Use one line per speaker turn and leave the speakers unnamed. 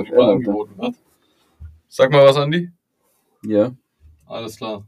Überall angeboten wird. Sag mal was, Andi.
Ja.
Alles klar.